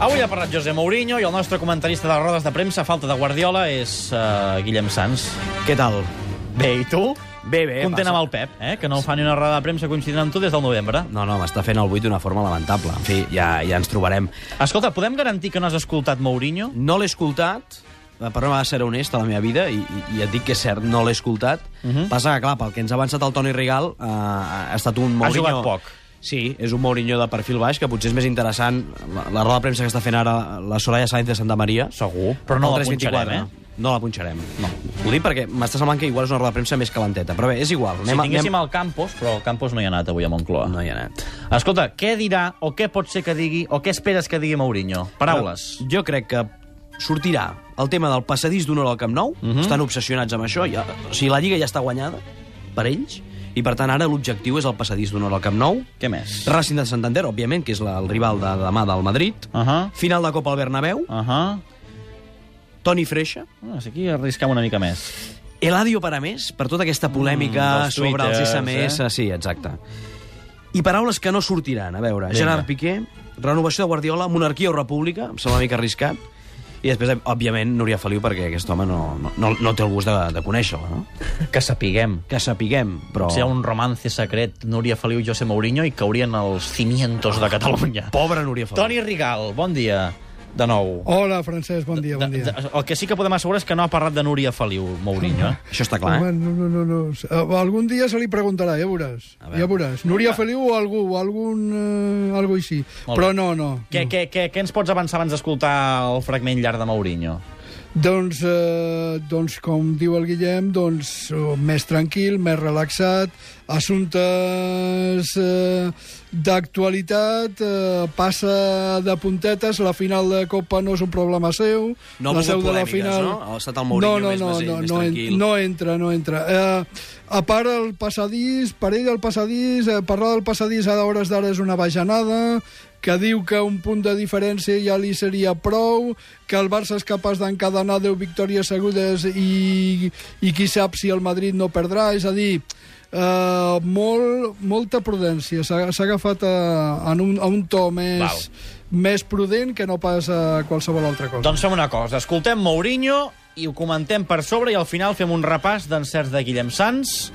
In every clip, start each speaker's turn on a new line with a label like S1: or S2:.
S1: Avui ha parlat José Mourinho i el nostre comentarista de les rodes de premsa, a falta de Guardiola, és uh, Guillem Sans.
S2: Què tal?
S1: Bé, i tu?
S2: Bé, bé.
S1: Content amb el Pep, eh? que no fa ni una roda de premsa coincidint amb tu des del novembre.
S2: No, no, m'està fent el buit d'una forma lamentable. En fi, ja, ja ens trobarem.
S1: Escolta, podem garantir que no has escoltat Mourinho?
S2: No l'he escoltat, eh, per no ser honest a la meva vida, i, i- i et dic que és cert, no l'he escoltat. Uh
S1: Mhm.
S2: -huh. Passa que, clar, pel que ens ha avançat el Toni Rigal, eh, ha estat un Mourinho...
S1: jugat poc.
S2: Sí, és un Mourinho de perfil baix, que potser és més interessant la, la roda de premsa que està fent ara la Soraya Sáenz de Santa Maria.
S1: Segur, però no
S2: El
S1: la
S2: 324,
S1: punxarem, eh?
S2: No la punxarem. No. Ho dic perquè m'està semblant que igual és una roda de premsa més calenteta. Però bé, és igual.
S1: Si tinguéssim el Campos, però el Campos no hi ha anat avui a Moncloa.
S2: No hi ha anat.
S1: Escolta, què dirà o què pot ser que digui o què esperes que digui Mourinho? Paraules.
S2: Però Jo crec que sortirà el tema del passadís d'una hora al Camp Nou. Estan obsessionats amb això. Ja, o sigui, la Lliga ja està guanyada per ells. I, per tant, ara l'objectiu és el passadís d'una hora al Camp Nou.
S1: Què més?
S2: Racing de Santander, òbviament, que és la, el rival de demà del Madrid.
S1: Ahà,
S2: Final de Copa al Bernabéu.
S1: ahà.
S2: Toni Freixa.
S1: Ah, Aquí arriscam una mica més.
S2: Eladio Paramés, per tota aquesta polèmica
S1: Mm,
S2: mm,
S1: dels
S2: sobre els
S1: twitters,
S2: SMS. Eh? Sí, exacte. I paraules que no sortiran, a veure.
S1: Vinga.
S2: Gerard Piqué, renovació de Guardiola, monarquia o república, em sembla una mica arriscat. I després, òbviament, Núria Feliu, perquè aquest home no, no, no, no té el gust de, de conèixer-la, no?
S1: Que sapiguem.
S2: Que sapiguem, però...
S1: Si hi ha un romance secret, Núria Feliu i José Mourinho, i caurien els cimientos de Catalunya.
S2: Pobra Núria Feliu.
S1: Toni Rigal, bon dia, de nou.
S3: Hola, Francesc, bon dia, bon dia.
S1: De- de- El que sí que podem assegurar és que no ha parlat de Núria Feliu, Mourinho. Eh?
S2: Això està clar,
S3: Home,
S2: eh?
S3: no, no, no, no. Eh, Algun dia se li preguntarà, ja veuràs.
S2: A veure.
S3: Ja veuràs. Núria Feliu o algú, o algun... Eh, algo així.
S1: Molt
S3: Però
S1: bé.
S3: no, no.
S1: Què, què, què, què ens pots avançar abans d'escoltar el fragment llarg de Mourinho?
S3: Doncs, eh, doncs, com diu el Guillem, doncs, eh, més tranquil, més relaxat, assumptes eh, d'actualitat, eh, passa de puntetes, la final de Copa no és un problema seu,
S2: No ha
S3: la
S2: volgut
S3: seu de la
S2: polèmiques,
S3: final...
S2: no? Ha estat el Mourinho
S3: no, no,
S2: més
S3: no,
S2: mesell,
S3: no,
S2: més
S3: no, en-
S2: tranquil.
S3: No entra, no entra. Eh, a part, el passadís, per ell el passadís, eh, parlar del passadís a hores d'ara és una bajanada, que diu que un punt de diferència ja li seria prou, que el Barça és capaç d'encadenar 10 victòries segudes i, i qui sap si el Madrid no perdrà, és a dir, eh, molt, molta prudència. S'ha s'ha agafat a, a, un, a un to
S1: Val.
S3: més, més prudent que no pas a qualsevol altra cosa.
S1: Doncs fem una cosa, escoltem Mourinho i ho comentem per sobre i al final fem un repàs d'encerts de Guillem Sans,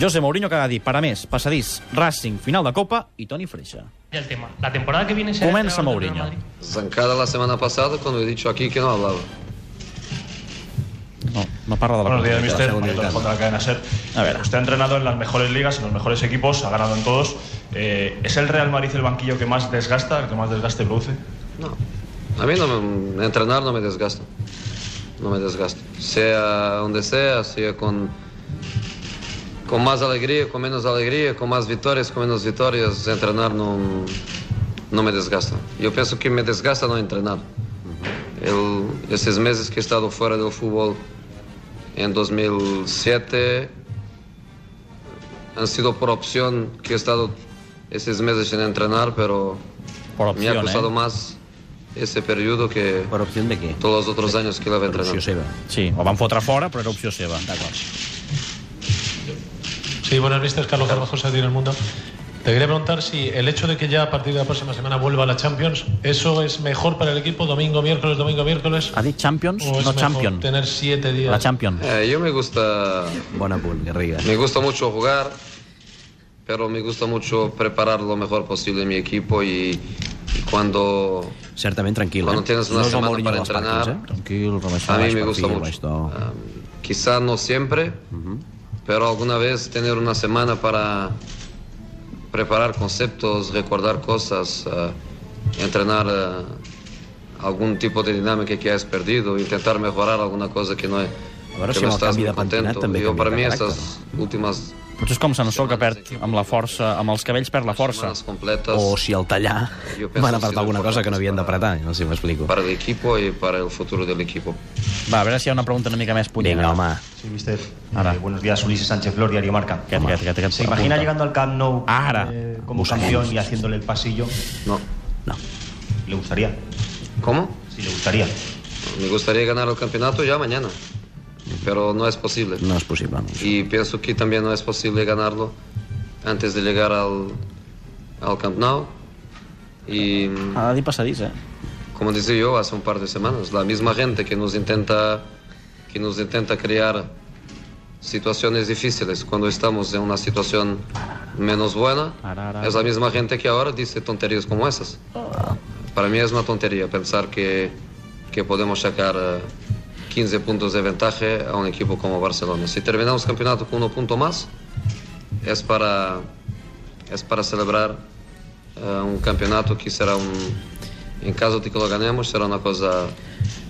S1: José Mourinho, que ha dit, para més, passadís, Racing, final de Copa i Toni Freixa.
S4: Y el tema. La temporada que viene será
S1: Comienza
S4: entrenador del
S1: Mourinho.
S4: Real Madrid.
S5: Zancada la semana pasada cuando he dicho aquí que no hablaba.
S1: No, no parla de la eh?
S6: Buenos días,
S1: Copa.
S6: mister. Marito Alfón de la cadena SER.
S1: A ver.
S6: Usted ha entrenado en las mejores ligas, en los mejores equipos, ha ganado en todos. Eh, ¿Es el Real Madrid el banquillo que más desgasta, el que más desgaste produce?
S5: No. A mí no me- entrenar no me desgasta. No me desgasta. Sea donde sea, sea con, con más alegría, con menos alegría, con más victorias, con menos victorias, entrenar no, no me desgasta. Yo pienso que me desgasta no entrenar. El- esses meses que he estado fuera del fútbol en 2007 han sido por opción que he estado esses meses sin entrenar, pero
S1: Por
S5: me ha
S1: opción,
S5: costado
S1: eh?
S5: más ese periodo que
S2: Per opció de què?
S5: todos los otros años que lo había
S2: Per opció
S5: entrenado.
S2: seva.
S1: Sí, ho van fotre fora, però era opció seva. D'acord.
S7: Sí, buenas vistas, Carlos Carvajal, tiene el mundo. Te quería preguntar si el hecho de que ya a partir de la próxima semana vuelva a la Champions, ¿eso es mejor para el equipo domingo, miércoles, domingo, miércoles?
S1: Ha dit Champions,
S7: ¿O es
S1: no
S7: Oh, mejor
S1: Champion.
S7: tener siete días?
S1: La Champions.
S5: Eh, yo me gusta,
S2: Bon apunt, Garriga.
S5: me gusta mucho jugar, pero me gusta mucho preparar lo mejor posible mi equipo y, y cuando
S2: Certament tranquil,
S5: Bueno,
S2: eh?
S5: tienes una
S2: no és el
S5: setmana
S2: Mourinho
S5: per
S2: dels
S5: entrenar.
S2: partits, eh?
S1: Tranquil, rebaixar
S5: a mí
S1: baix
S5: me
S1: perfil,
S5: gusta
S1: baix
S5: mucho,
S1: to.
S5: ah, quizá no siempre, pero alguna vez tener una semana para preparar conceptos, recordar cosas, ah, entrenar ah, algún tipo de dinámica que has perdido, intentar mejorar alguna cosa que no, he-
S2: veure
S5: que
S2: si
S5: no
S2: amb el
S5: estás
S2: canvi
S5: muy
S2: de pentinat
S5: contento.
S2: també
S5: Yo
S2: canvia
S5: para
S2: de
S5: mí
S2: caràcter,
S5: estas últimas
S1: Potser és com Sansó, que perd amb la força, amb els cabells perd la força.
S5: semanas completas
S2: O si el tallar
S5: Jo penso
S2: van
S5: que sí,
S2: apretar alguna cosa que no havien d'apretar, eh, no sé si m'explico.
S5: para el equipo y para el futuro del equipo.
S1: Va, a veure si hi ha una pregunta una mica més punyent.
S2: Vinga, home.
S6: Sí, mister. Eh,
S1: Ahora.
S6: buenos días, Ulises Sánchez Flor, Diario Marca.
S1: Aquest, aquest, aquest, aquest,
S6: ¿Se imagina
S1: apunta.
S6: llegando al Camp Nou
S1: Ahora.
S6: eh, como
S2: Busquemos.
S6: campeón y haciéndole el pasillo?
S5: No.
S2: No.
S6: ¿Le gustaría?
S5: ¿Cómo?
S6: Sí, le gustaría.
S5: Me gustaría ganar el campeonato ya mañana, pero no es posible.
S2: No és possible. No.
S5: y pienso que é también no es posible ganarlo antes de llegar al, al Camp Nou. Y
S1: Ha de dir passadís, eh?
S5: como decía yo hace un um par de semanas, la misma gente que nos intenta, que nos intenta crear situaciones difíciles cuando estamos en una situación menos buena, es la misma gente que ahora dice tonterías como esas. Para mí es una tontería pensar que, que podemos sacar eh, 15 puntos de ventaja a un equipo como Barcelona. Si terminamos el campeonato um con un punto más, es é para, es para celebrar eh, un campeonato que será un, en caso de que lo ganemos, será una cosa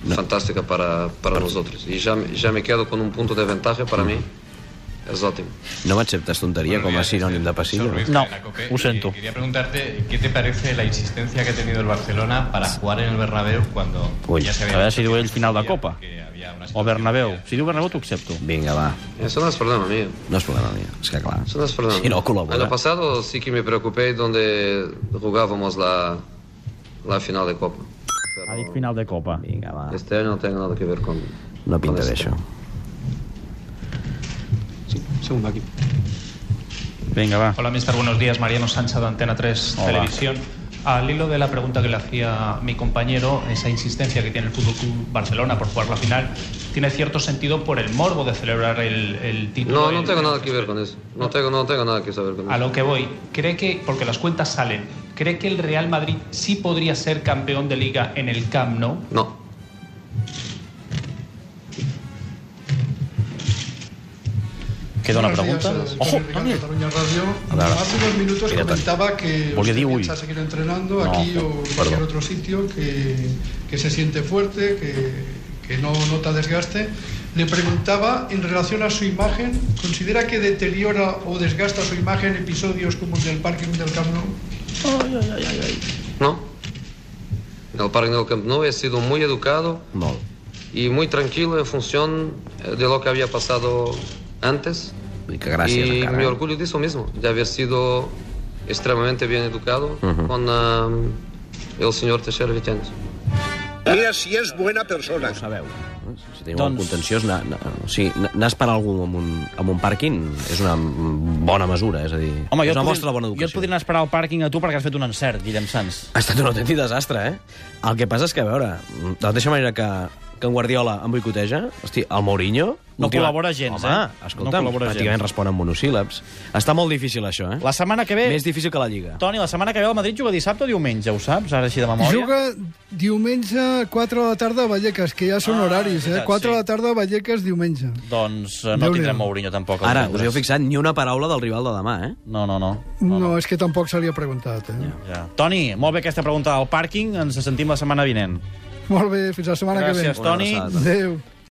S5: fantástica para, para nosotros. Y ya, me- ya me quedo con un punto de ventaja para mí, es ótimo.
S2: No m'acceptes tonteria
S8: Buenos
S2: com a
S8: días,
S2: sinònim de
S8: soy
S2: passillo.
S8: Ruiz
S1: No,
S8: de la COPE
S1: lo siento.
S8: y Quería preguntarte qué te parece la insistencia que ha tenido el Barcelona para jugar en el Bernabéu cuando
S2: Uy,
S8: ya se
S1: a
S8: había
S1: ver
S8: dicho
S1: si digo
S8: que
S1: el
S8: no
S1: final de
S8: existía,
S1: Copa.
S8: que había una
S1: O
S8: situación
S1: Bernabéu.
S8: que-
S1: Si diu Bernabéu, t'ho accepto.
S2: Vinga, va.
S5: Eso no es problema mío.
S2: No és problema meu. És que clar.
S5: Eso no es problema.
S2: Si no, col·labora.
S5: Año pasado sí que me preocupé donde jugábamos la, la final de Copa. Pero
S1: Ha dit final de Copa.
S2: Vinga, va.
S5: Este año no tengo nada que ver con...
S2: No
S5: con
S2: pinta
S5: esto.
S2: d'això.
S9: Segundo aquí.
S1: Vinga, va.
S4: Hola, mister. Buenos días. Mariano Sánchez de Antena 3
S1: Hola.
S4: Televisión. Al hilo de la pregunta que le hacía mi compañero, esa insistencia que tiene el Fútbol Club Barcelona por jugar la final, tiene cierto sentido por el morbo de celebrar el, el título.
S5: No, no
S4: El-
S5: tengo nada que ver con eso. No tengo, no tengo nada que saber con
S4: A
S5: eso.
S4: lo que voy, cree que, porque las cuentas salen, ¿cree que el Real Madrid sí podría ser campeón de liga en el Camp Nou?
S5: No.
S1: Queda una
S9: Buenos
S1: pregunta.
S9: días, eh,
S1: Ojo,
S9: Luis
S1: no
S9: Enrique,
S1: mira.
S9: Cataluña Radio.
S2: ver,
S9: Hace unos minutos
S2: mira, Toni.
S9: comentaba que
S1: Volia
S9: usted
S1: dir
S9: piensa
S1: ui.
S9: seguir entrenando
S1: No,
S9: aquí o en cualquier
S2: perdó.
S9: otro sitio, que, que se siente fuerte, que, que no nota desgaste. Le preguntaba en relación a su imagen, ¿considera que deteriora o desgasta su imagen episodios como el del parking del Camp Nou?
S5: No. En el Parque del Camp Nou he sido muy educado
S2: Molt.
S5: y muy tranquilo en función eh, de lo que había pasado antes.
S2: Vull dir que gràcies,
S5: y me
S2: encara.
S5: orgullo de eso mismo, de haber sido extremadamente bien educado
S2: Ujú.
S5: con um, el señor Teixeira Vitenes.
S10: Mira si és bona persona.
S2: Ho sabeu. Si teniu
S1: Doncs-
S2: doncs... contenciós, anar, anar, o sigui, anar- anar a esperar algú en un, en un pàrquing és una bona mesura, és a dir,
S1: Home,
S2: és
S1: jo,
S2: una
S1: et
S2: mostra
S1: podria,
S2: de bona
S1: jo et
S2: educació.
S1: podria anar a esperar al pàrquing a tu perquè has fet un encert, Guillem Sans.
S2: Ha estat un autèntic desastre, eh? El que passa és que, a veure, de la mateixa manera que, que en Guardiola em boicoteja, hosti, el Mourinho...
S1: No col·labora gens,
S2: Home,
S1: eh? No
S2: escolta'm,
S1: col·labora
S2: pràcticament
S1: gens.
S2: respon amb monosíl·labs. Està molt difícil, això, eh?
S1: La setmana que ve...
S2: Més difícil que la Lliga.
S1: Toni, la setmana que ve el Madrid juga dissabte o diumenge, ho saps? Ara així de memòria.
S3: Juga diumenge 4 de la tarda a Vallecas, que ja són
S1: Ah, és
S3: horaris, eh?
S1: veritat,
S3: 4
S1: sí.
S3: de la tarda a Vallecas diumenge.
S1: Doncs eh, no
S3: Déu-n'hi-do.
S1: tindrem Mourinho tampoc. el
S2: Ara, us
S1: divendres.
S2: heu fixat ni una paraula del rival de demà, eh?
S1: No, no, no.
S3: No, no és que tampoc se li ha preguntat, eh?
S1: Ja. Toni, molt bé aquesta pregunta del pàrquing. Ens sentim la setmana vinent.
S3: Molt bé, fins la setmana
S1: Gràcies,
S3: que
S1: Toni.
S2: Una abraçada.
S3: ve. Adéu.